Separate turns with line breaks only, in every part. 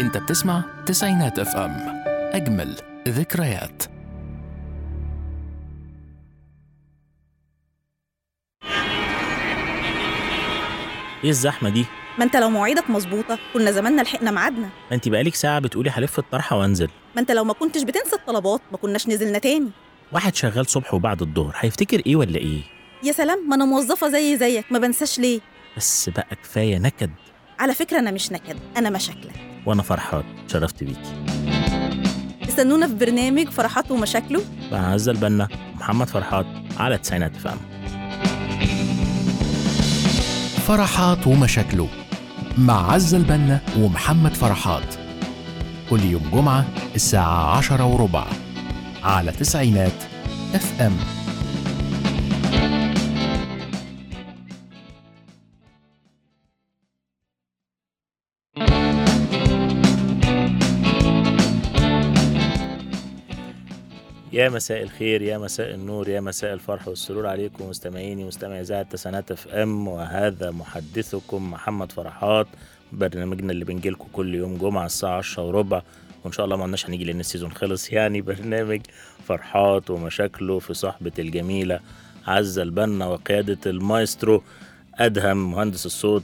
انت بتسمع تسعينات اف ام اجمل ذكريات
ايه الزحمه دي
ما انت لو مواعيدك مظبوطه كنا زماننا لحقنا ميعادنا
ما انت بقالك ساعه بتقولي هلف الطرحه وانزل
ما انت لو ما كنتش بتنسى الطلبات ما كناش نزلنا تاني
واحد شغال صبح وبعد الظهر هيفتكر ايه ولا ايه
يا سلام ما انا موظفه زي زيك ما بنساش ليه
بس بقى كفايه نكد
على فكره انا مش نكد انا مشاكلك
وانا فرحان شرفت بيكي
استنونا في برنامج فرحاته ومشاكله
بقى عزة البنا محمد فرحات على تسعينات فام
فرحات ومشاكله مع عزة البنا ومحمد فرحات كل يوم جمعة الساعة عشرة وربع على تسعينات اف ام
يا مساء الخير يا مساء النور يا مساء الفرح والسرور عليكم مستمعيني مستمعي اذاعه تسانات اف ام وهذا محدثكم محمد فرحات برنامجنا اللي بنجي لكم كل يوم جمعه الساعه 10 وربع وان شاء الله ما عندناش هنيجي لان السيزون خلص يعني برنامج فرحات ومشاكله في صحبه الجميله عزه البنا وقياده المايسترو ادهم مهندس الصوت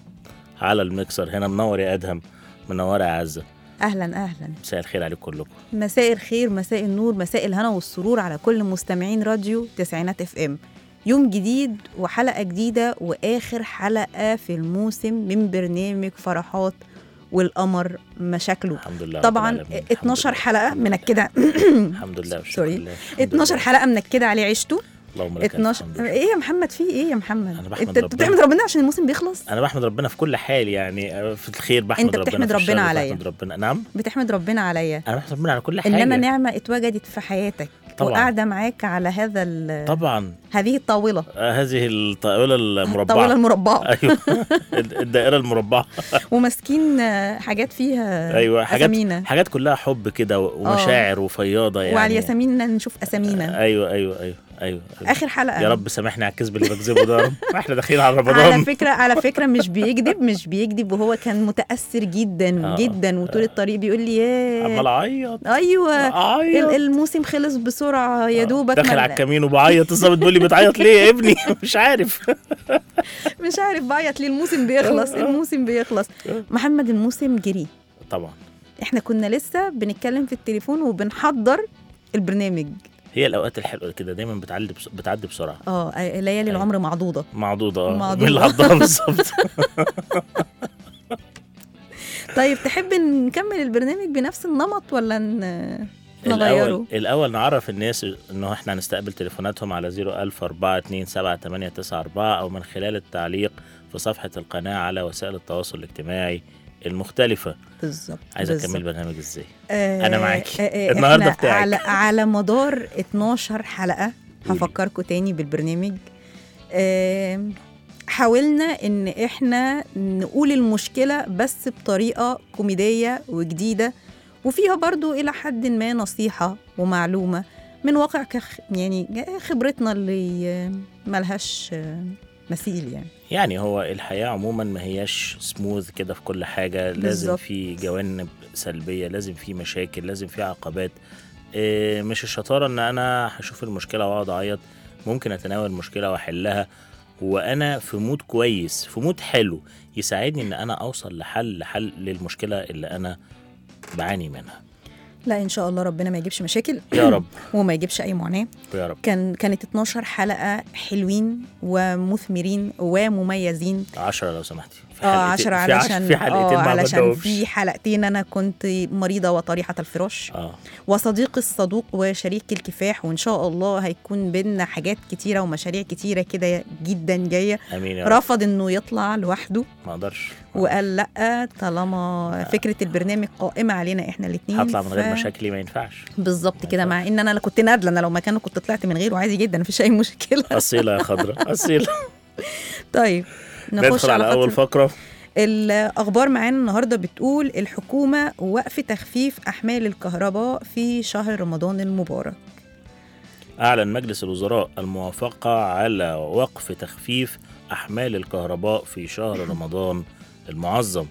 على المكسر هنا منور يا ادهم منور يا عزه
اهلا اهلا
مساء الخير عليكم كلكم
مساء الخير مساء النور مساء الهنا والسرور على كل مستمعين راديو تسعينات اف ام يوم جديد وحلقه جديده واخر حلقه في الموسم من برنامج فرحات والقمر مشاكله
الحمد لله رب
طبعا
العالمين. الحمد
12
لله.
حلقه منكده
الحمد لله والشكر
سوري.
لله. الحمد
12
لله.
حلقه منكده عليه عيشته
اللهم لك
12
الحمد.
ايه يا محمد في ايه يا محمد
أنا بحمد
انت أنت
ربنا. أه.
بتحمد ربنا عشان الموسم بيخلص
انا بحمد ربنا في كل حال يعني آه، في الخير بحمد
أنت
ربنا
بتحمد
في الشر
ربنا عليا.
بحمد ربنا نعم
بتحمد ربنا عليا
انا بحمد ربنا على كل حاجه
انما نعمه اتوجدت في حياتك
طبعاً.
وقاعده معاك على هذا ال-
طبعا
هذه الطاوله
آه، هذه الطاوله
الطاوله
المربعه
المربعه
ايوه الدائره المربعه
وماسكين آه، حاجات فيها
ايوه حاجات
اسامينا
حاجات كلها حب كده و-
آه.
ومشاعر وفياضه يعني
وعلى الياسمين نشوف اسامينا
ايوه ايوه ايوه ايوه أيوة.
اخر حلقه
يا رب سامحني على الكذب اللي بكذبه ده يا رب احنا داخلين على
على
رمضان
فكره على فكره مش بيكذب مش بيكذب وهو كان متاثر جدا
آه.
جدا وطول الطريق بيقول لي
عمال
ياه
اعيط
ايوه ال-
اعيط
الموسم خلص بسرعه يا دوبك
داخل
ما-
آه. على الكمين وبعيط الظابط بيقول لي بتعيط ليه يا ابني مش عارف
مش عارف بعيط ليه الموسم بيخلص
آه.
الموسم بيخلص محمد الموسم جري
طبعا
احنا كنا لسه بنتكلم في التليفون وبنحضر البرنامج
هي الاوقات الحلوه كده دايما بتعدي بس... بتعدي بسرعه
اه
أيوه.
ليالي العمر معضوضه
معضوضه آه.
معضوضة.
من اللي عضها بالظبط
طيب تحب نكمل البرنامج بنفس النمط ولا ن- نغيره
الاول الاول نعرف الناس ان احنا هنستقبل تليفوناتهم على 01042788894 او من خلال التعليق في صفحه القناه على وسائل التواصل الاجتماعي المختلفه
بالظبط
عايز اكمل
بالظبط.
البرنامج ازاي
آه،
أنا معاكي.
آه، آه،
النهاردة
إحنا
بتاعك.
على على مدار 12 حلقه
قولي.
هفكركم تاني بالبرنامج آم، حاولنا ان احنا نقول المشكله بس بطريقه كوميديه وجديده وفيها برضو الى حد ما نصيحه ومعلومه من واقع كخ يعني خبرتنا اللي آم، ملهاش آم، مثيل يعني
يعني هو الحياه عموما ما هياش سموث كده في كل حاجه لازم
بالظبط.
في جوانب سلبيه لازم في مشاكل لازم في عقبات إيه، مش الشطاره ان انا هشوف المشكله واقعد اعيط ممكن اتناول المشكله واحلها وانا في مود كويس في مود حلو يساعدني ان انا اوصل لحل لحل للمشكله اللي انا بعاني منها
لا ان شاء الله ربنا ما يجيبش مشاكل
يا رب
وما يجيبش اي معاناه
يا رب
كان كانت 12 حلقه حلوين ومثمرين ومميزين
10 لو سمحتي في
اه
حلقتين-
10
في عش-
علشان
في حلقتين
آه
ما
علشان
عملناهمش.
في حلقتين انا كنت مريضه وطريحه الفراش
اه
وصديق الصدوق وشريك الكفاح وان شاء الله هيكون بينا حاجات كتيره ومشاريع كتيره كده جدا جايه
امين يا رب آه.
رفض انه يطلع لوحده
ما اقدرش
وقال لا طالما فكره البرنامج قائمه علينا احنا الاثنين
هطلع من غير مشاكلي ما ينفعش
بالظبط كده مع ان انا لا كنت نادله انا لو مكانه كنت طلعت من غيره عادي جدا مفيش اي مشكله
أصيلة يا خضرة أصيلة
طيب نخش
ندخل
على,
على أول
فقرة
فقرة
الأخبار معانا النهاردة بتقول الحكومة وقف تخفيف أحمال الكهرباء في شهر رمضان المبارك
يعني أعلن مجلس الوزراء الموافقة على وقف تخفيف أحمال الكهرباء في شهر رمضان المعظم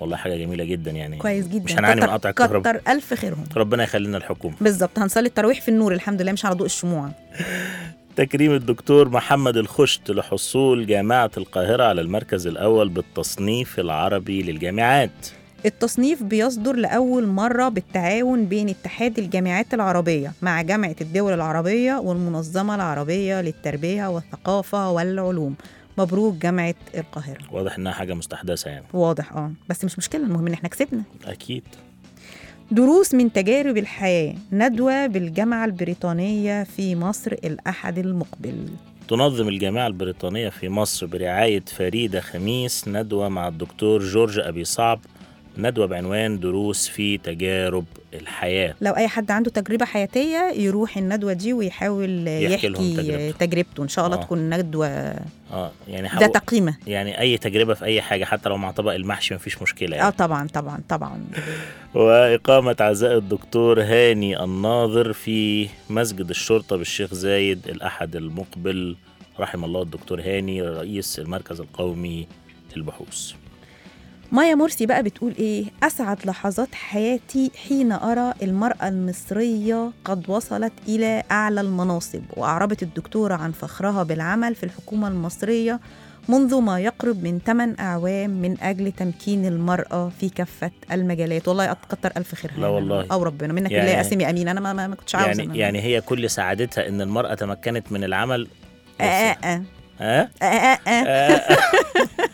والله حاجه جميله جدا يعني
كويس جدا
مش هنعاني من
كتر-
قطع الكهرباء
كتر الف خيرهم
ربنا يخلينا الحكومه
بالظبط هنصلي التراويح في النور الحمد لله مش على ضوء الشموع
تكريم الدكتور محمد الخشت لحصول جامعه القاهره على المركز الاول بالتصنيف العربي للجامعات
التصنيف بيصدر لأول مرة بالتعاون بين اتحاد الجامعات العربية مع جامعة الدول العربية والمنظمة العربية للتربية والثقافة والعلوم مبروك جامعة القاهرة
واضح انها حاجه مستحدثه يعني
واضح اه بس مش مشكلة المهم ان احنا كسبنا
اكيد
دروس من تجارب الحياة ندوة بالجامعة البريطانية في مصر الأحد المقبل
تنظم الجامعة البريطانية في مصر برعاية فريدة خميس ندوة مع الدكتور جورج أبي صعب ندوة بعنوان دروس في تجارب الحياة
لو أي حد عنده تجربة حياتية يروح الندوة دي ويحاول
يحكي
يحكي,
لهم تجربته.
تجربته إن شاء الله
آه.
تكون ندوة
اه يعني حاول
ذات قيمة
يعني أي تجربة في أي حاجة حتى لو مع طبق المحشي مفيش مشكلة
اه
يعني.
طبعا طبعا طبعا
وإقامة عزاء الدكتور هاني الناظر في مسجد الشرطة بالشيخ زايد الأحد المقبل رحم الله الدكتور هاني رئيس المركز القومي للبحوث
مايا مرسي بقى بتقول ايه اسعد لحظات حياتي حين ارى المراه المصريه قد وصلت الى اعلى المناصب واعربت الدكتوره عن فخرها بالعمل في الحكومه المصريه منذ ما يقرب من 8 اعوام من اجل تمكين المراه في كافه المجالات والله كتر الف خيرها
لا والله.
او ربنا منك
يعني-
يعني لله اسامي امين انا ما, ما, ما كنتش عاوزه
يعني يعني هي كل سعادتها ان المراه تمكنت من العمل
آه آه آه.
ها
آه آه آه.
آه.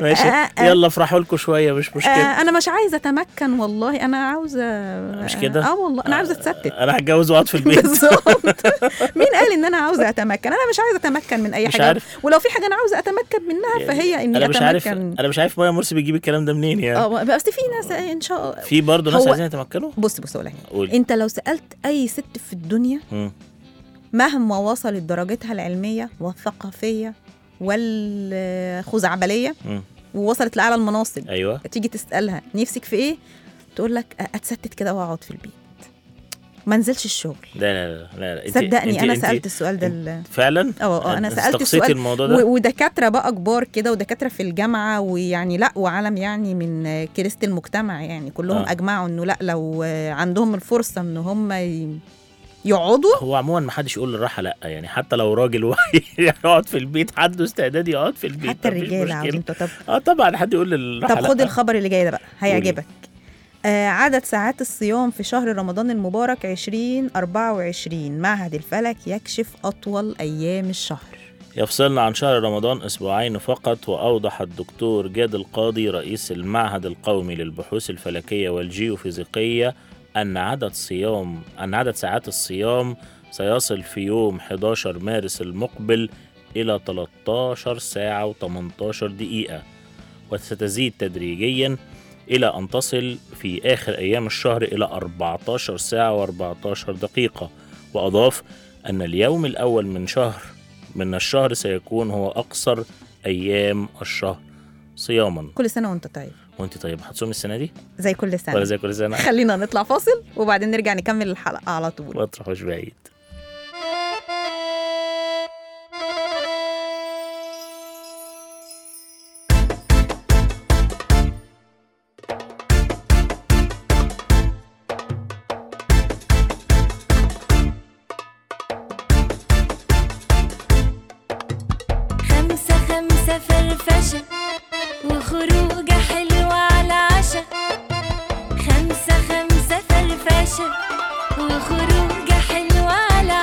ماشي
آه، آه.
يلا افرحوا لكم شويه مش مشكله
آه انا مش عايزه اتمكن والله انا عاوزه
مش كده؟
اه والله انا عاوزه اتستت
انا هتجوز واقعد في البيت
بالظبط مين قال ان انا عاوزه اتمكن انا مش عايزه اتمكن من اي
مش
حاجه
عارف.
ولو في حاجه انا عاوزه اتمكن منها فهي اني
انا مش عارف
اتمكن
انا مش عارف مايا مرسي بيجيب الكلام ده منين يعني
اه بس في ناس ان شاء الله
في برضه ناس
هو-
عايزين يتمكنوا
بص بص اقول لك
قول
انت لو سالت اي ست في الدنيا
مم.
مهما وصلت درجتها العلميه والثقافيه والخزعبليه
مم.
ووصلت لاعلى المناصب
ايوه
تيجي تسالها نفسك في ايه تقول لك أ- اتستت كده واقعد في البيت ما انزلش الشغل
لا لا لا لا, لا. انت-
صدقني
انت-
انا
انت
سالت السؤال ده ال-
فعلا
اه اه انا
انت
سالت
استقصيتي
السؤال
الموضوع ده
و- ودكاتره بقى كبار كده ودكاتره في الجامعه ويعني لا وعالم يعني من كريست المجتمع يعني كلهم
آه.
آه. اجمعوا انه لا لو عندهم الفرصه ان هم ي- يقعدوا
هو عموما ما حدش يقول للراحه لا يعني حتى لو راجل واعي يقعد في البيت عنده استعداد يقعد في البيت
حتى
مفيش
الرجاله
مشكلة.
عاوزين طب
اه طبعا حد يقول للراحه
طب
لا.
خد الخبر اللي جاي ده بقى هيعجبك
قولي.
آه عدد ساعات الصيام في شهر رمضان المبارك 20 24 معهد الفلك يكشف اطول ايام الشهر
يفصلنا عن شهر رمضان أسبوعين فقط وأوضح الدكتور جاد القاضي رئيس المعهد القومي للبحوث الفلكية والجيوفيزيقية أن عدد صيام أن عدد ساعات الصيام سيصل في يوم 11 مارس المقبل إلى 13 ساعة و18 دقيقة وستزيد تدريجيا إلى أن تصل في آخر أيام الشهر إلى 14 ساعة و14 دقيقة وأضاف أن اليوم الأول من شهر من الشهر سيكون هو أقصر أيام الشهر صياما
كل سنه وانت طيب
وانت طيب هتصومي السنة دي
زي كل سنه
ولا زي كل سنة
خلينا نطلع فاصل وبعدين نرجع نكمل الحلقه على طول
ما تروحوش بعيد
خمسة خمسة فرفشة وخروجة حلوة على عشا خمسة خمسة فرفشة وخروجة حلوة على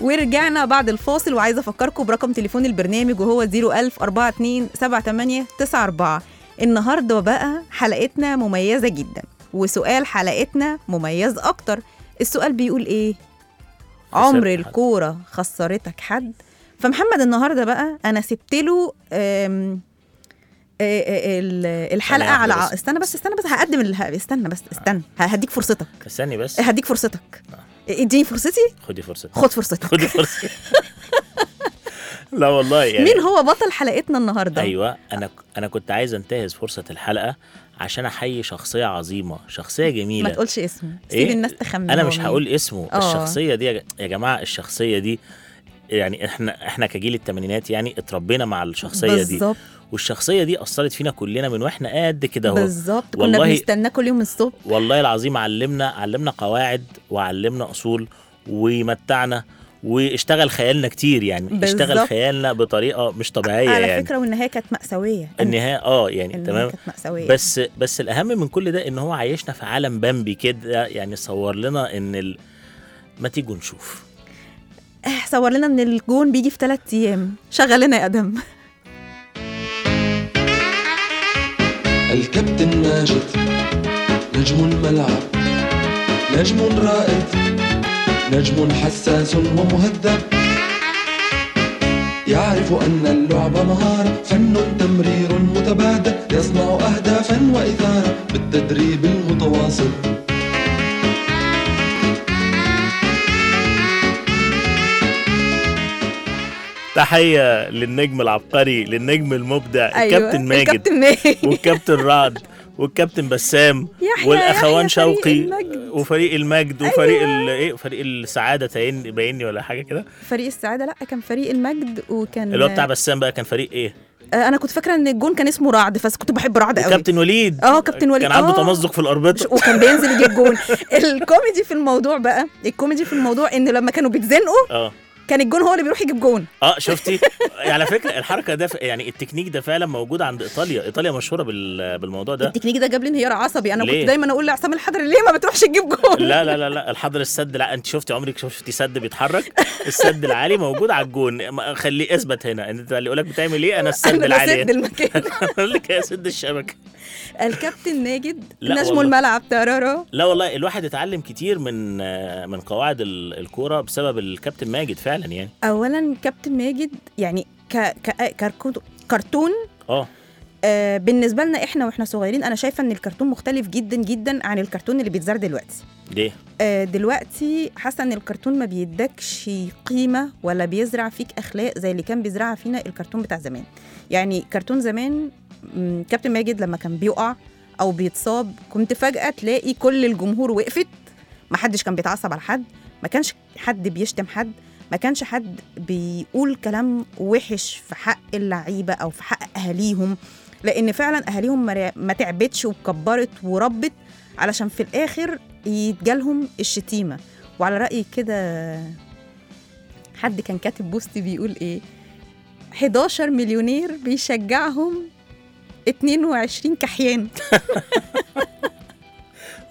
ورجعنا بعد الفاصل وعايزه افكركم برقم تليفون البرنامج وهو 01042 النهارده بقى حلقتنا مميزه جدا وسؤال حلقتنا مميز اكتر السؤال بيقول ايه عمر
حد.
الكوره خسرتك حد فمحمد النهارده بقى انا سبت له آم، آه، آه، ال- الحلقه
واحدة
على ع-
بس.
استنى بس استنى بس هقدم ال- استنى بس استنى هديك فرصتك
استني بس
هديك فرصتك اديني فرصتي
خدي فرصتك
خد فرصتك
خدي فرصتك لا والله يعني
مين هو بطل حلقتنا النهارده
ايوه انا انا كنت عايز انتهز فرصه الحلقه عشان احيي شخصيه عظيمه شخصيه جميله
ما تقولش اسمه سيب
إيه؟
الناس تخمن
انا
هو
مش
مين.
هقول اسمه
آه.
الشخصيه دي يا ج- يا جماعه الشخصيه دي يعني احنا احنا كجيل الثمانينات يعني اتربينا مع الشخصيه دي
بالظبط
والشخصيه دي اثرت فينا كلنا من واحنا قد كده اهو
بالظبط كنا
والله-
بنستناه كل يوم الصبح
والله العظيم علمنا علمنا قواعد وعلمنا اصول ومتعنا واشتغل خيالنا كتير يعني
بالظبط.
اشتغل خيالنا بطريقه مش طبيعيه
على
يعني
فكره والنهايه كانت مأساويه
النهايه اه يعني
النهاية
تمام
كانت مأساوية
بس بس الاهم من كل ده ان هو عايشنا في عالم بامبي كده يعني صور لنا ان ال... ما تيجوا نشوف
آه، صور لنا ان الجون بيجي في ثلاث ايام شغلنا يا ادم
الكابتن ماجد نجم الملعب نجم رائد نجم حساس ومهذب يعرف أن اللعب مهارة فن تمرير متبادل يصنع أهدافا وإثارة بالتدريب المتواصل
تحيه للنجم العبقري للنجم المبدع
أيوة،
الكابتن ماجد
الكابتن ماجد
والكابتن رعد والكابتن بسام
يحيى-
والاخوان
يحيى فريق
شوقي
المجد. أيوة.
وفريق المجد وفريق ال- ايه فريق السعاده تاين باينني ولا حاجه كده
فريق السعاده لا كان فريق المجد وكان
اللي هو بتاع بسام بقى كان فريق ايه
آه، انا كنت فاكره ان الجون كان اسمه رعد بس كنت بحب رعد قوي
كابتن وليد
اه كابتن وليد
كان عنده
آه.
تمزق في الاربطه
وكان بينزل يجيب جون الكوميدي في الموضوع بقى الكوميدي في الموضوع ان لما كانوا بيتزنقوا
اه
كان الجون هو اللي بيروح يجيب جون
اه شفتي على فكره الحركه ده ف- يعني التكنيك ده فعلا موجود عند ايطاليا ايطاليا مشهوره بال- بالموضوع ده
التكنيك ده جاب لي انهيار عصبي انا
ليه؟
كنت دايما اقول لعصام الحضري ليه ما بتروحش تجيب جون
لا لا لا لا الحضر السد لا انت شفتي عمرك شفتي سد بيتحرك السد العالي موجود على الجون ما- خليه اثبت هنا انت اللي يقول لك بتعمل ايه انا السد
انا
العالي
بسد المكان
اقول لك يا سد الشبكه
الكابتن ماجد
لا
نجم
والله.
الملعب تارارا
لا والله الواحد اتعلم كتير من آه، من قواعد ال- الكوره بسبب الكابتن ماجد فعلا يعني
اولا كابتن ماجد يعني ك... ك... كركود- كرتون
اه
آه بالنسبه لنا احنا واحنا صغيرين انا شايفه ان الكرتون مختلف جدا جدا عن الكرتون اللي بيتذاع دلوقتي
ليه
آه، دلوقتي حاسه ان الكرتون ما بيدكش قيمه ولا بيزرع فيك اخلاق زي اللي كان بيزرعها فينا الكرتون بتاع زمان يعني كرتون زمان مم، كابتن ماجد لما كان بيقع او بيتصاب كنت فجاه تلاقي كل الجمهور وقفت ما حدش كان بيتعصب على حد ما كانش حد بيشتم حد ما كانش حد بيقول كلام وحش في حق اللعيبه او في حق اهاليهم لان فعلا اهاليهم ما- ما تعبتش وكبرت وربت علشان في الاخر يتجالهم الشتيمه وعلى راي كده حد كان كاتب بوست بيقول ايه 11 مليونير بيشجعهم 22 كحيان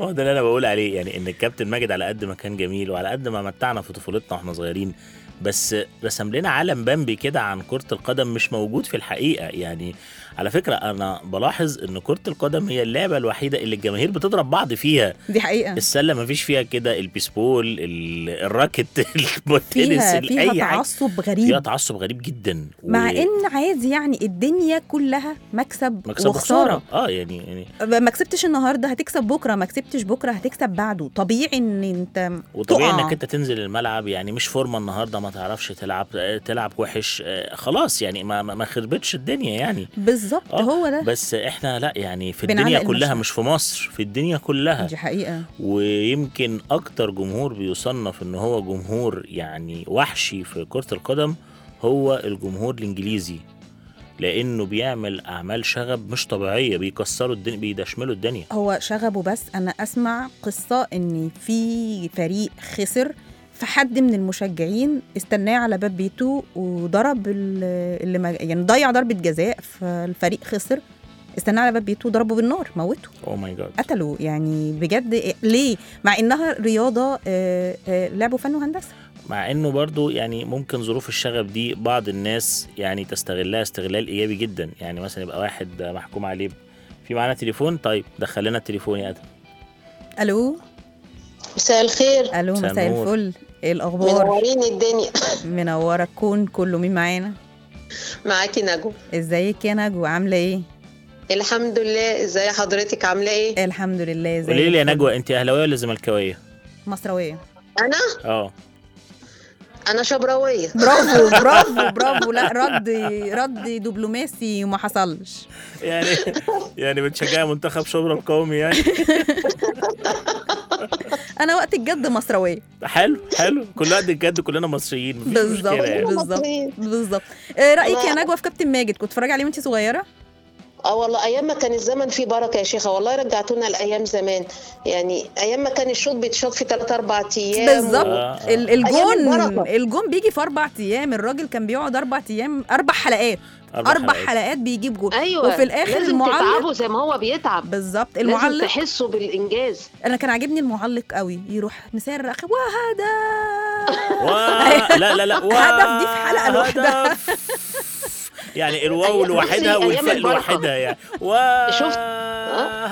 هو آه، ده اللي انا بقول عليه يعني ان الكابتن ماجد على قد ما كان جميل وعلى قد ما متعنا في طفولتنا واحنا صغيرين بس رسم لنا عالم بامبي كده عن كرة القدم مش موجود في الحقيقة يعني على فكرة أنا بلاحظ إن كرة القدم هي اللعبة الوحيدة اللي الجماهير بتضرب بعض فيها
دي حقيقه
السلة مفيش فيها كده البيسبول ال- الراكت التنس
فيها فيها
أي حاجة
تعصب
فيها
غريب
تعصب غريب جدا
مع
و-
ان عادي يعني الدنيا كلها مكسب,
مكسب وخساره اه يعني يعني
ما كسبتش النهارده هتكسب بكره ما كسبتش بكره هتكسب بعده طبيعي ان انت
وطبيعي
تقع.
انك انت تنزل الملعب يعني مش فورمه النهارده ما تعرفش تلعب آه، تلعب وحش آه، خلاص يعني ما ما ما خربتش الدنيا يعني
بالظبط
آه،
هو ده
بس احنا لا يعني في
بنعلق
الدنيا كلها
المشهد.
مش في مصر في الدنيا كلها
دي حقيقه
ويمكن اكتر جمهور بيصنف ان هو جمهور يعني وحشي في كرة القدم هو الجمهور الانجليزي لانه بيعمل اعمال شغب مش طبيعيه بيكسروا الدنيا بيدشملوا الدنيا
هو شغبه بس انا اسمع قصه ان في فريق خسر فحد من المشجعين استناه على باب بيته وضرب ال- اللي ما يعني ضيع ضربه جزاء فالفريق خسر استناه على باب بيته وضربه بالنار موته
او ماي جاد
قتله يعني بجد إيه- ليه مع انها رياضه آه، آه، لعب وفن وهندسه
مع انه برضو يعني ممكن ظروف الشغب دي بعض الناس يعني تستغلها استغلال ايجابي جدا يعني مثلا يبقى واحد محكوم عليه ب- في معانا تليفون طيب دخل لنا التليفون يا ادم
الو
مساء الخير
الو
مساء
مساء
النور.
الفل ايه الاخبار
منورين الدنيا
منوره الكون كله مين معانا
معاكي نجوى
ازيك يا نجوى عامله ايه
الحمد لله ازاي حضرتك عامله ايه
الحمد لله ازيك
قولي لي يا نجوى انت اهلاويه ولا زملكاويه؟
مصرويه
انا
اه
انا شبراويه
برافو برافو برافو لا رد رد دبلوماسي وما حصلش
يعني يعني بتشجعي منتخب شبرا القومي يعني
انا وقت الجد مصرويه
حلو حلو كل وقت الجد كلنا مصريين مفيش
بالظبط
مشكله يعني.
بالظبط
مصريين.
بالظبط آه، رايك يا
لا.
نجوى في كابتن ماجد كنت بتتفرجي عليه وانت صغيره
اه والله ايام ما كان الزمن فيه بركه يا شيخه والله رجعتونا لايام زمان يعني ايام ما كان الشوط بيتشاط في 3 4 ايام
بالظبط
آه.
ال- الجون
أيام البركة.
الجون بيجي في اربع ايام الراجل كان بيقعد اربع ايام اربع حلقات اربع حلقات بيجيب جون
ايوه
وفي الآخر
لازم
المعلق-
تتعبه زي ما هو بيتعب
بالظبط
لازم
المعلق
تحسه بالانجاز
انا كان عاجبني المعلق قوي يروح مصرخ وهذا
وا- لا لا لا وا-
هدف دي في حلقة لوحدها.
هدف. يعني الواو
أيام-
لوحدها
بصي، أيام
والفاء
البركة.
لوحدها يعني وا
شفت؟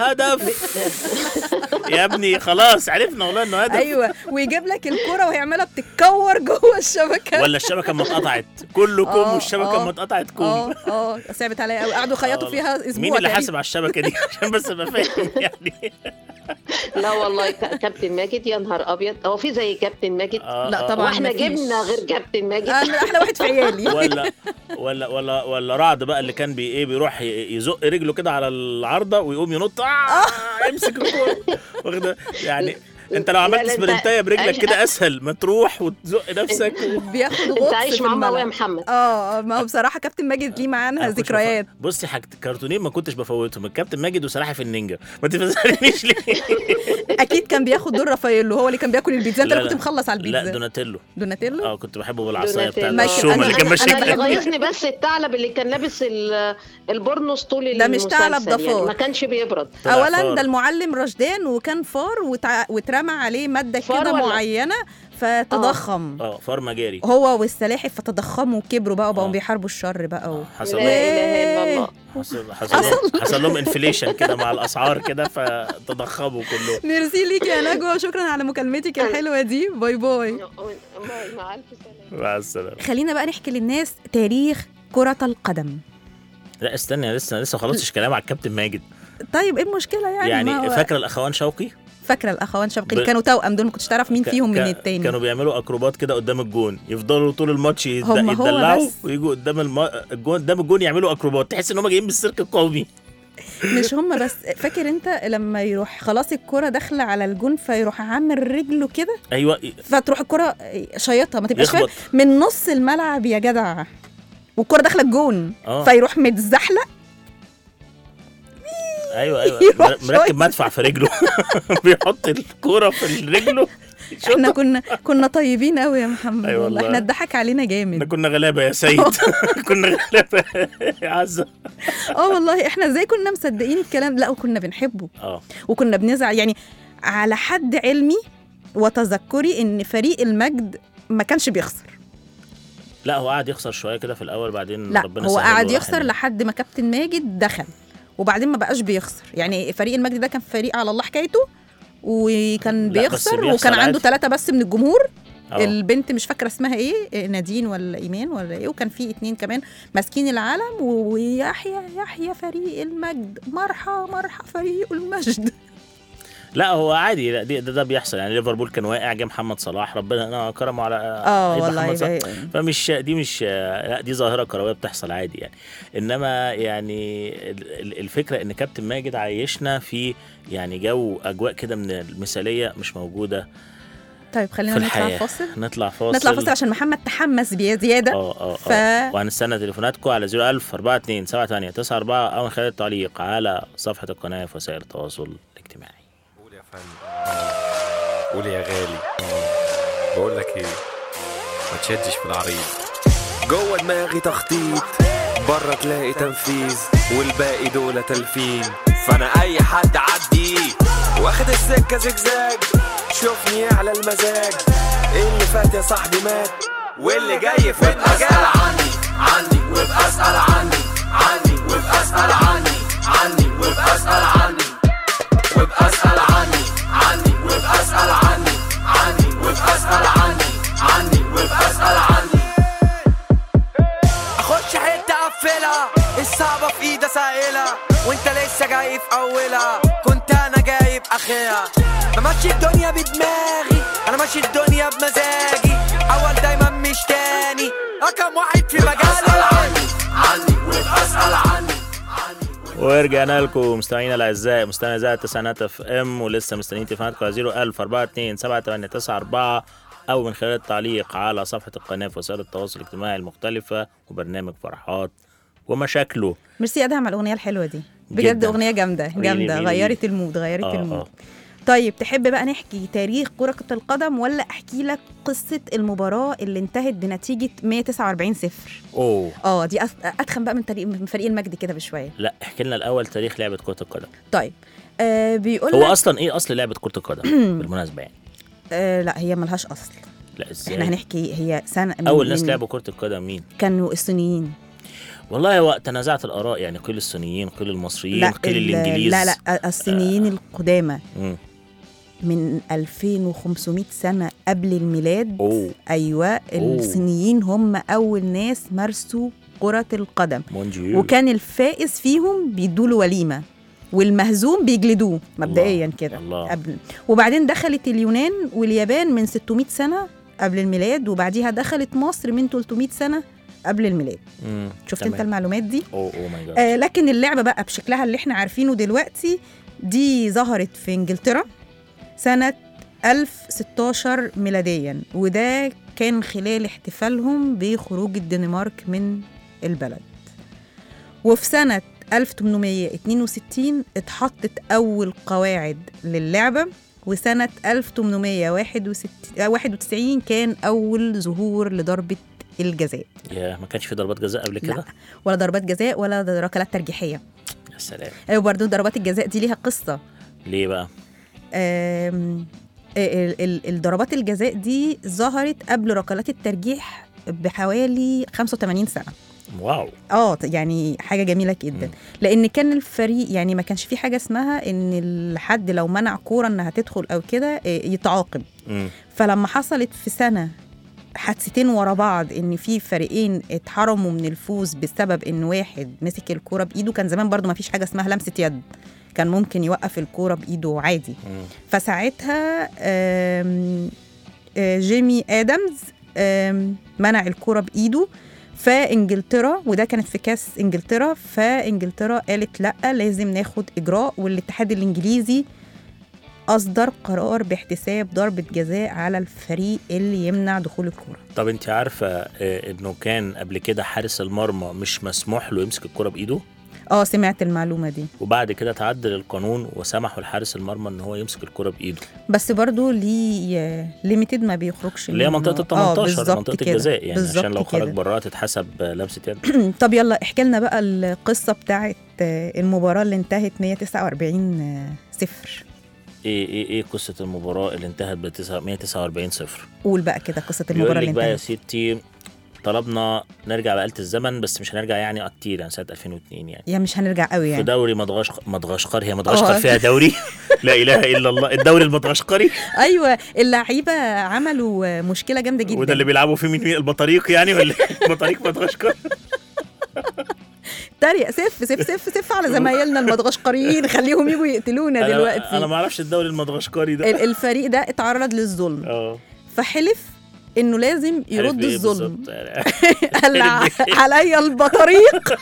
هدف يا ابني خلاص عرفنا والله انه هدف
ايوه ويجيب لك الكره وهيعملها بتتكور جوه الشبكه
ولا الشبكه اما اتقطعت كله كوم
أيوة. آه،
والشبكه
آه،
اما اتقطعت كوم
اه اه صعبت عليا قوي قعدوا
آه،
يخيطوا فيها اسبوع
مين اللي
تقريباً.
حاسب على الشبكه دي عشان بس ابقى فاهم يعني
لا والله ك- كابتن ماجد يا نهار ابيض هو في زي كابتن ماجد
آه،
لا
آه.
طبعاً
واحنا
مفيش.
جبنا غير كابتن ماجد
انا احلى آه، واحد في عيالي
ولا ولا ولا ولا رعد بقى اللي كان بي ايه بيروح ي- يزق رجله كده على العارضه ويقوم ينط آه يمسك الكوره واخد يعني انت لو
لا،
عملت
لا، انت
سبرنتايه برجلك
عايش-
كده اسهل ما تروح وتزق نفسك و...
بياخد غطس
انت عايش
في
معاهم قوي يا
الملعب.
محمد
اه آه، ما هو بصراحه كابتن ماجد ليه معانا
أنا كنتش
ذكريات
بفوت- بصي حاجة كرتونين ما كنتش بفوتهم الكابتن ماجد وسلاحف النينجا ما تفهمنيش ليه
اكيد كان بياخد دور رافايلو هو اللي كان بياكل البيتزا
لا،
انا
لا.
كنت مخلص على
لا
البيتزا
دوناتيلو
دوناتيلو
اه كنت بحبه بالعصايه بتاعت
دوناتيلو.
ماشي،
الشومه
أنا-
اللي كان
أنا-
ماشي
انا اللي
بيها.
غيظني بس الثعلب اللي كان لابس ال- البرنس طول
ده مش ثعلب،
المسلسل
ده
يعني
فار.
ما كانش بيبرد
طلع
اولا
فار.
ده المعلم رشدان وكان فار وتع... واترمى عليه ماده
فار
كده
ولا- آه.
معينه فتضخم
اه فار مجاري
هو والسلاحف فتضخموا وكبروا بقى وبقوا
آه.
بيحاربوا الشر بقى و...
حصل
لا اله
إيه.
الا الله
حصل حصل لهم حصل لهم انفليشن كده مع الاسعار كده فتضخموا كلهم
ميرسي ليكي يا نجوى شكرا على مكالمتك الحلوه دي باي باي
باي، مع الف سلامه
مع السلامه
خلينا بقى نحكي للناس تاريخ كرة القدم
لا استنى أنا لسه لسه ما خلصتش كلام على الكابتن ماجد
طيب ايه المشكلة يعني ما
يعني
هو-
فاكره الاخوان شوقي
فاكرة الأخوان شوقي
ب-
اللي كانوا توأم دول ما كنتش تعرف مين
ك-
فيهم من
ك-
التاني
كانوا بيعملوا اكروبات كده قدام الجون يفضلوا طول الماتش يد-
هم هو
يتدلعوا
بس.
ويجوا قدام الم... الجون قدام الجون يعملوا اكروبات تحس ان هم جايين من السيرك القومي
مش هم بس فاكر أنت لما يروح خلاص الكرة داخلة على الجون فيروح عامل رجله كده
ايوه ي-
فتروح الكرة شيطها ما تبقاش فاهم
يخبط
من نص الملعب يا جدع والكرة داخلة الجون
اه
فيروح متزحلق
ايوه ايوه
يروح
مر- مركب مدفع في رجله بيحط الكوره في رجله
احنا كنا كنا طيبين قوي يا محمد
أيوة
والله
والله.
احنا اتضحك علينا
احنا
جامد
كنا غلابه يا سيد كنا غلابه يا عزه
اه والله احنا ازاي كنا مصدقين الكلام لا وكنا بنحبه
اه
وكنا بنزعل يعني على حد علمي وتذكري ان فريق المجد ما كانش بيخسر
لا هو قعد يخسر شويه كده في الاول بعدين
لا
ربنا
هو
سهل
قعد
وراح
يخسر
يعني.
لحد ما كابتن ماجد دخل وبعدين ما بقاش بيخسر يعني فريق المجد ده كان فريق على الله حكايته وكان
لا، بس
بيخسر,
بيخسر
وكان عنده
عادي.
ثلاثة بس من الجمهور
آه.
البنت مش فاكرة اسمها ايه نادين ولا ايمان ولا ايه وكان في اتنين كمان ماسكين العلم و- ويحيى يحيى فريق المجد مرحى مرحى فريق المجد
لا هو عادي لا دي- ده, ده بيحصل يعني ليفربول كان واقع جه محمد صلاح ربنا كرمه على
اه
هيبقى
والله
محمد صلاح.
يبقى-
فمش دي مش لا دي ظاهره كرويه بتحصل عادي يعني انما يعني ال- ال- الفكره ان كابتن ماجد عايشنا في يعني جو اجواء كده من المثاليه مش موجوده
طيب
في
خلينا نطلع
الحياه
فاصل
نطلع فاصل
نطلع فاصل عشان محمد تحمس بيا- زياده
اه اه
ف
اه وهنستنى تليفوناتكم على 01000 42 78 94 او من خلال التعليق على صفحه القناه في وسائل التواصل الاجتماعي
قول يا فندم قول يا غالي بقول لك ايه ما تشدش في العريض جوه دماغي تخطيط بره تلاقي تنفيذ والباقي دول تلفين فانا اي حد عدي واخد السكه زجزاج شوفني على المزاج إيه اللي فات يا صاحبي مات واللي جاي في المجال عني عني وبأسأل عني عني وبأسأل عني عني وبأسأل عني وبأسأل عني عني وبأسأل عني عني وبأسأل عني عني وبأسأل عني اخش حته اقفلها الصعبه في ايدي سائله وانت لسه جاي في اولها كنت انا جايب اخرها بمشي الدنيا بدماغي انا ماشي الدنيا بمزاجي اول دايما مش تاني رقم واحد في مجالي عني عني وبسال عني
ورجعنا لكم مستمعينا الاعزاء مستمعي اذاعه تسعينات اف ام ولسه مستنيين تليفوناتكم على 01042 او من خلال التعليق على صفحه القناه في وسائل التواصل الاجتماعي المختلفه وبرنامج فرحات ومشاكله
ميرسي ادهم على الاغنيه الحلوه دي بجد
جداً.
اغنيه جامده
قولي لي
جامده
مين-
غيرت المود غيرت
آه،
المود
آه.
طيب تحب بقى نحكي تاريخ كرة القدم ولا احكي لك قصة المباراة اللي انتهت بنتيجة 149 صفر
اوه
اه دي أف- اتخن بقى من طريق من فريق المجد كده بشوية
لا احكي لنا الاول تاريخ لعبه كره القدم
طيب آه بيقول
هو
لك
اصلا ايه اصل لعبه كره القدم بالمناسبه يعني
آه لا هي ملهاش اصل
لا ازاي
احنا هنحكي هي سنة من-
اول يعني ناس
من-
لعبوا كره القدم مين
كانوا الصينيين
والله هو تنازعت الاراء يعني قيل الصينيين قيل المصريين قيل
ال-
الانجليز
لا لا
آه.
الصينيين القدامى
مم.
من 2500 سنة قبل الميلاد
اوه
ايوه
أوه.
الصينيين هم اول ناس مارسوا كرة القدم
مونجيو
وكان الفائز فيهم بيدوا له وليمه والمهزوم بيجلدوه مبدئيا كده
الله.
قبل وبعدين دخلت اليونان واليابان من 600 سنه قبل الميلاد وبعديها دخلت مصر من 300 سنه قبل الميلاد
مم.
شفت
تمام.
انت المعلومات دي
اوه اوه ماي جاد
آه لكن اللعبه بقى بشكلها اللي احنا عارفينه دلوقتي دي ظهرت في انجلترا سنه 1016 ميلاديا وده كان خلال احتفالهم بخروج الدنمارك من البلد وفي سنه 1862 اتحطت اول قواعد للعبه وسنه 1891 كان اول ظهور لضربه الجزاء
يا ما كانش في ضربات جزاء قبل
لا.
كده
ولا ضربات جزاء ولا ركلات ترجيحيه
يا سلام
وبرضه آه، ضربات الجزاء دي ليها قصه
ليه بقى
آم، آه، ال- ال- الضربات الجزاء دي ظهرت قبل ركلات الترجيح بحوالي 85 سنه
واو
اه يعني حاجه جميله جدا
مم.
لان كان الفريق يعني ما كانش في حاجه اسمها ان الحد لو منع كوره انها تدخل او كده آه، يتعاقب
مم.
فلما حصلت في سنه حادثتين ورا بعض ان في فريقين اتحرموا من الفوز بسبب ان واحد مسك الكوره بايده كان زمان برضو ما فيش حاجه اسمها لمسه يد كان ممكن يوقف الكوره بايده عادي
مم.
فساعتها آم، آه، جيمي ادمز آم، منع الكوره بايده فانجلترا وده كانت في كاس انجلترا فانجلترا قالت لا لازم ناخد اجراء والاتحاد الانجليزي اصدر قرار باحتساب ضربه جزاء على الفريق اللي يمنع دخول الكوره
طب انت عارفه آه، انه كان قبل كده حارس المرمى مش مسموح له يمسك الكره بايده
اه سمعت المعلومه دي
وبعد كده تعدل القانون وسمحوا لحارس المرمى ان هو يمسك الكره بايده
بس برضو ليه ليميتد ما بيخرجش
اللي هي
منه.
منطقه ال
آه،
18
بالظبط
منطقه
كده.
الجزاء يعني
بالظبط
عشان لو خرج
كده.
براها تتحسب آه، لمسه يد
طب يلا احكي لنا بقى القصه بتاعت آه، المباراه اللي انتهت 149 آه، صفر
ايه ايه ايه قصه المباراه اللي انتهت ب 149 صفر
قول بقى كده قصه المباراه
بيقول
اللي
لك بقى يا
انتهت
ستي طلبنا نرجع بآلة الزمن بس مش هنرجع يعني كتير يعني سنه 2002 يعني
يا مش هنرجع قوي
في
يعني
دوري مدغشقر مدغشقر هي مدغشقر
آه.
فيها دوري لا اله الا الله الدوري المدغشقري
ايوه اللعيبه عملوا آه، مشكله جامده جدا
وده اللي بيلعبوا فيه مين مين البطاريق يعني ولا إيه؟ بطاريق مدغشقر
تريق سف سف سف سف على زمايلنا المدغشقريين خليهم يجوا يقتلونا
انا أنا
دلوقتي
ما اعرفش الدوري المدغشقري ده
ال- الفريق ده اتعرض للظلم
اه
فحلف انه لازم
عارف
يرد
إيه
الظلم
بالظبط؟ يعني.
قال ع- عليا البطاريق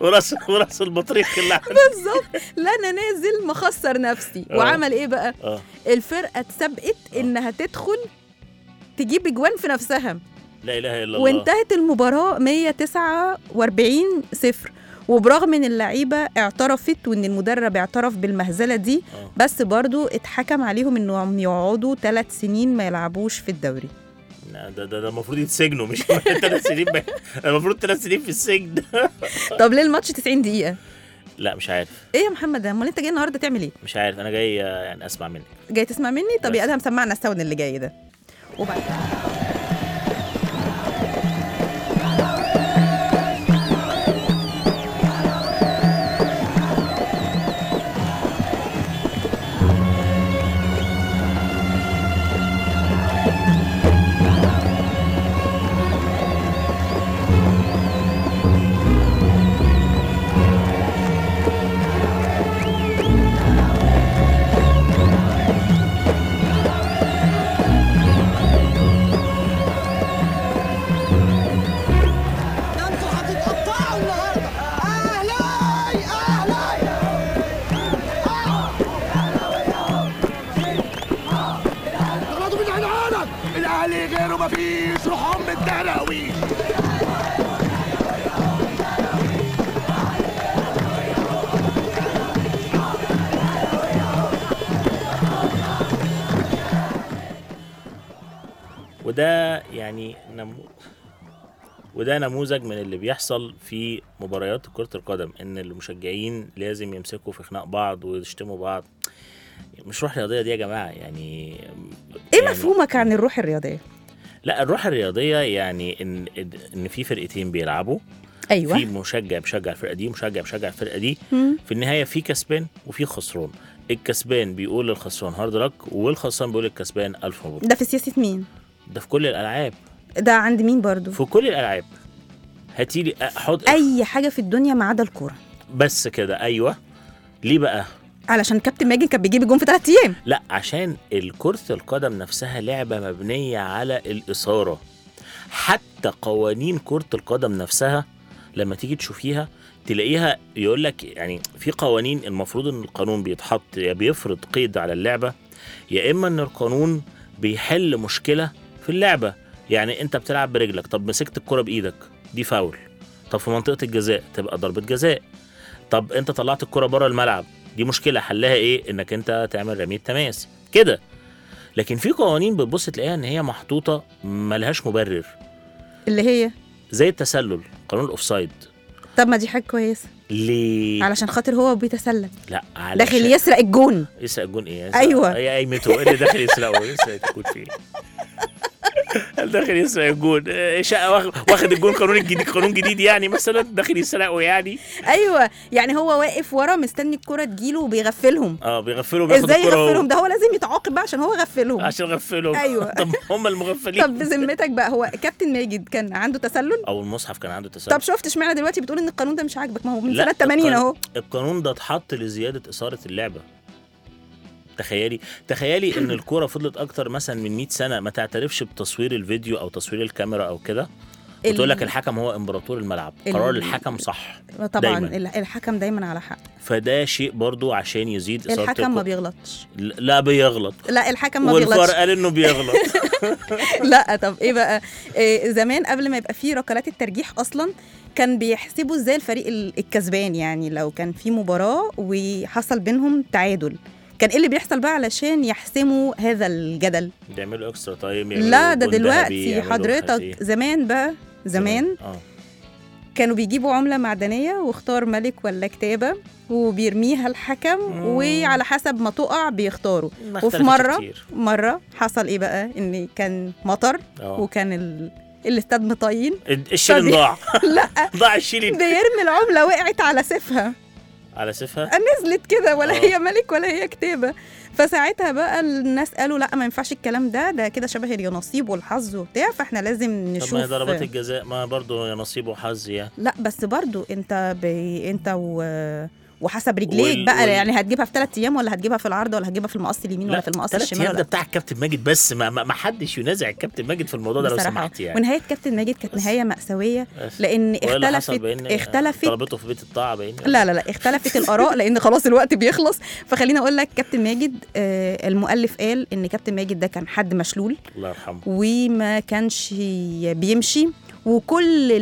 وراس وراس البطريق اللي عمل-
بالظبط لا انا نازل مخسر نفسي
آه.
وعمل ايه بقى
اه
الفرقه اتسبقت
آه.
انها تدخل تجيب اجوان في نفسها
لا اله الا الله
وانتهت المباراه 149 صفر وبرغم ان اللعيبه اعترفت وان المدرب اعترف بالمهزله دي
آه.
بس برضو اتحكم عليهم انهم يقعدوا ثلاث سنين ما يلعبوش في الدوري
لا، ده ده ده المفروض يتسجنوا مش ثلاث سنين بقى. المفروض ثلاث سنين في السجن
طب ليه الماتش 90 دقيقه
لا مش عارف
ايه يا محمد امال انت جاي النهارده تعمل ايه
مش عارف انا جاي آه، يعني اسمع منك
جاي تسمع مني طب
بس.
يا ادهم سمعنا الساوند اللي جاي ده وبعد
وده يعني نمو... وده نموذج من اللي بيحصل في مباريات كرة القدم ان المشجعين لازم يمسكوا في خناق بعض ويشتموا بعض مش روح رياضية دي يا جماعة يعني
ايه
يعني-
مفهومك عن الروح الرياضيه
لا الروح الرياضية يعني ان ان في فرقتين بيلعبوا في
ايوه
مشجع بيشجع الفرقه دي ومشجع بيشجع الفرقه دي
مم.
في النهايه في كسبان وفي خسران الكسبان بيقول للخسران هارد لك والخسران بيقول للكسبان الف مبروك
ده في سياسه مين
ده في كل الالعاب
ده عند مين برضو
في كل الالعاب هاتي لي احط
اي حاجه في الدنيا ما عدا الكوره
بس كده ايوه ليه بقى
علشان كابتن ماجد كان بيجيب الجون في ثلاث ايام
لا عشان الكرة القدم نفسها لعبة مبنية على الإثارة حتى قوانين كرة القدم نفسها لما تيجي تشوفيها تلاقيها يقول لك يعني في قوانين المفروض ان القانون بيتحط يا بيفرض قيد على اللعبة يا اما ان القانون بيحل مشكلة في اللعبة يعني انت بتلعب برجلك طب مسكت الكرة بايدك دي فاول طب في منطقة الجزاء تبقى ضربة جزاء طب انت طلعت الكرة بره الملعب دي مشكله حلها ايه انك انت تعمل رميه تماس كده لكن في قوانين بتبص تلاقيها ان هي محطوطه ملهاش مبرر
اللي هي
زي التسلل قانون الاوفسايد
طب ما دي حاجه كويسه
ليه
علشان خاطر هو بيتسلى
لا إيه؟ علشان
داخل يسرق الجون
يسرق الجون ايه يسرق-
أيوة.
هي قايمته ايه اللي داخل يسرقه يسرق الجون في ايه داخل يسرق الجون إيه، شقه واخد- واخد الجون قانون الجديد قانون جديد يعني مثلا داخل يسرقه يعني
ايوه يعني هو واقف ورا مستني الكوره تجيله وبيغفلهم
اه بيغفلوا بياخد
ازاي
الكرة هو.
يغفلهم ده هو لازم يتعاقب بقى عشان هو غفلهم
عشان غفلهم
أيوة.
طب هم المغفلين
طب بذمتك بقى هو كابتن ماجد كان عنده تسلل
او المصحف كان عنده تسلل
طب شفت اشمعنى دلوقتي بتقول ان القانون ده مش عاجبك ما هو من
طيب. لا،
سنه 80
القانون-
اهو
القانون ده اتحط لزياده اثاره اللعبه تخيلي تخيلي ان الكوره فضلت اكتر مثلا من 100 سنه ما تعترفش بتصوير الفيديو او تصوير الكاميرا او كده
ال-
وتقول لك الحكم هو امبراطور الملعب
ال-
قرار الحكم صح
طبعا
دايماً.
ال- الحكم دايما على حق
فده شيء برضو عشان يزيد اثاره
الحكم ما
الكرة.
بيغلطش
لا بيغلط
لا الحكم ما
والفار
بيغلطش
قال انه بيغلط
لا طب ايه بقى إيه زمان قبل ما يبقى فيه ركلات الترجيح اصلا كان بيحسبوا ازاي الفريق ال- الكسبان يعني لو كان في مباراه وحصل بينهم تعادل كان ايه اللي بيحصل بقى علشان يحسموا هذا الجدل
بيعملوا اكسترا تايم يعملوا
لا ده
جون ذهبي،
دلوقتي
يعملوا
حضرتك
إيه.
زمان بقى زمان
اه
كانوا بيجيبوا عملة معدنية واختار ملك ولا كتابة وبيرميها الحكم
مم.
وعلى حسب ما تقع بيختاروا
ما
وفي
اختلفت
مرة-
كتير.
مرة حصل ايه بقى ان كان مطر
اه
وكان ال... الاستاد مطين
الشيلين
فبي-
ضاع
لا
ضاع الشيلين
بيرمي العمله وقعت على سيفها
على سيفها
نزلت كده ولا
آه.
هي ملك ولا هي كتابه فساعتها بقى الناس قالوا لا ما ينفعش الكلام ده ده كده شبه اليانصيب والحظ وبتاع فاحنا لازم
طب ما هي
نشوف
ضربات الجزاء ما برضه نصيب وحظ يعني
لا بس برضو انت بي... انت و... وحسب رجليك
وال-
بقى
وال-
يعني هتجيبها في ثلاث ايام ولا هتجيبها في العارضه ولا هتجيبها في المقص اليمين ولا في المقص
تلات
الشمال
أيام ده
ولا
بتاع الكابتن ماجد بس ما, ما, ما حدش ينازع الكابتن ماجد في الموضوع ده لو
بصراحة.
سمحت يعني
ونهايه كابتن ماجد كانت نهايه مأساويه
بس.
لان
وإيه اللي حصل
اختلفت
بين-
اختلفت
طلبته في بيت الطاعه بين
لا لا لا اختلفت الاراء لان خلاص الوقت بيخلص فخليني اقول لك كابتن ماجد آه، المؤلف قال ان كابتن ماجد ده كان حد مشلول
الله يرحمه
وما كانش ي- بيمشي وكل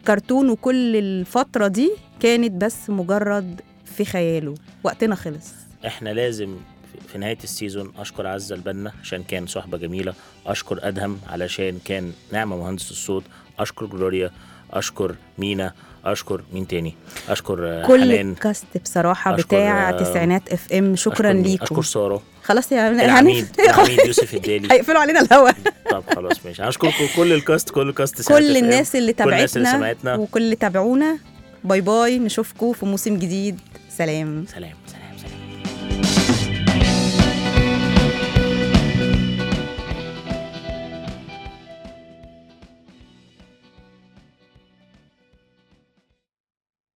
الكرتون وكل الفتره دي كانت بس مجرد في خياله وقتنا خلص
احنا لازم في- في نهايه السيزون اشكر عزه البنا عشان كان صحبه جميله اشكر ادهم علشان كان نعمه مهندس الصوت اشكر جلوريا اشكر مينا اشكر مين تاني اشكر آه،
كل
حنان
الكاست بصراحه
أشكر- آه،
بتاع تسعينات اف ام شكرا
أشكر مين؟
ليكم
اشكر ساره
خلاص يا
العميد العميد يوسف الدالي
هيقفلوا علينا الهوا
طب خلاص ماشي هشكركم كل الكاست كل الكاست ساعة
كل
FM.
الناس اللي
كل الناس اللي
تابعتنا
سمعتنا
وكل اللي تابعونا باي باي نشوفكم في موسم جديد سلام
سلام سلام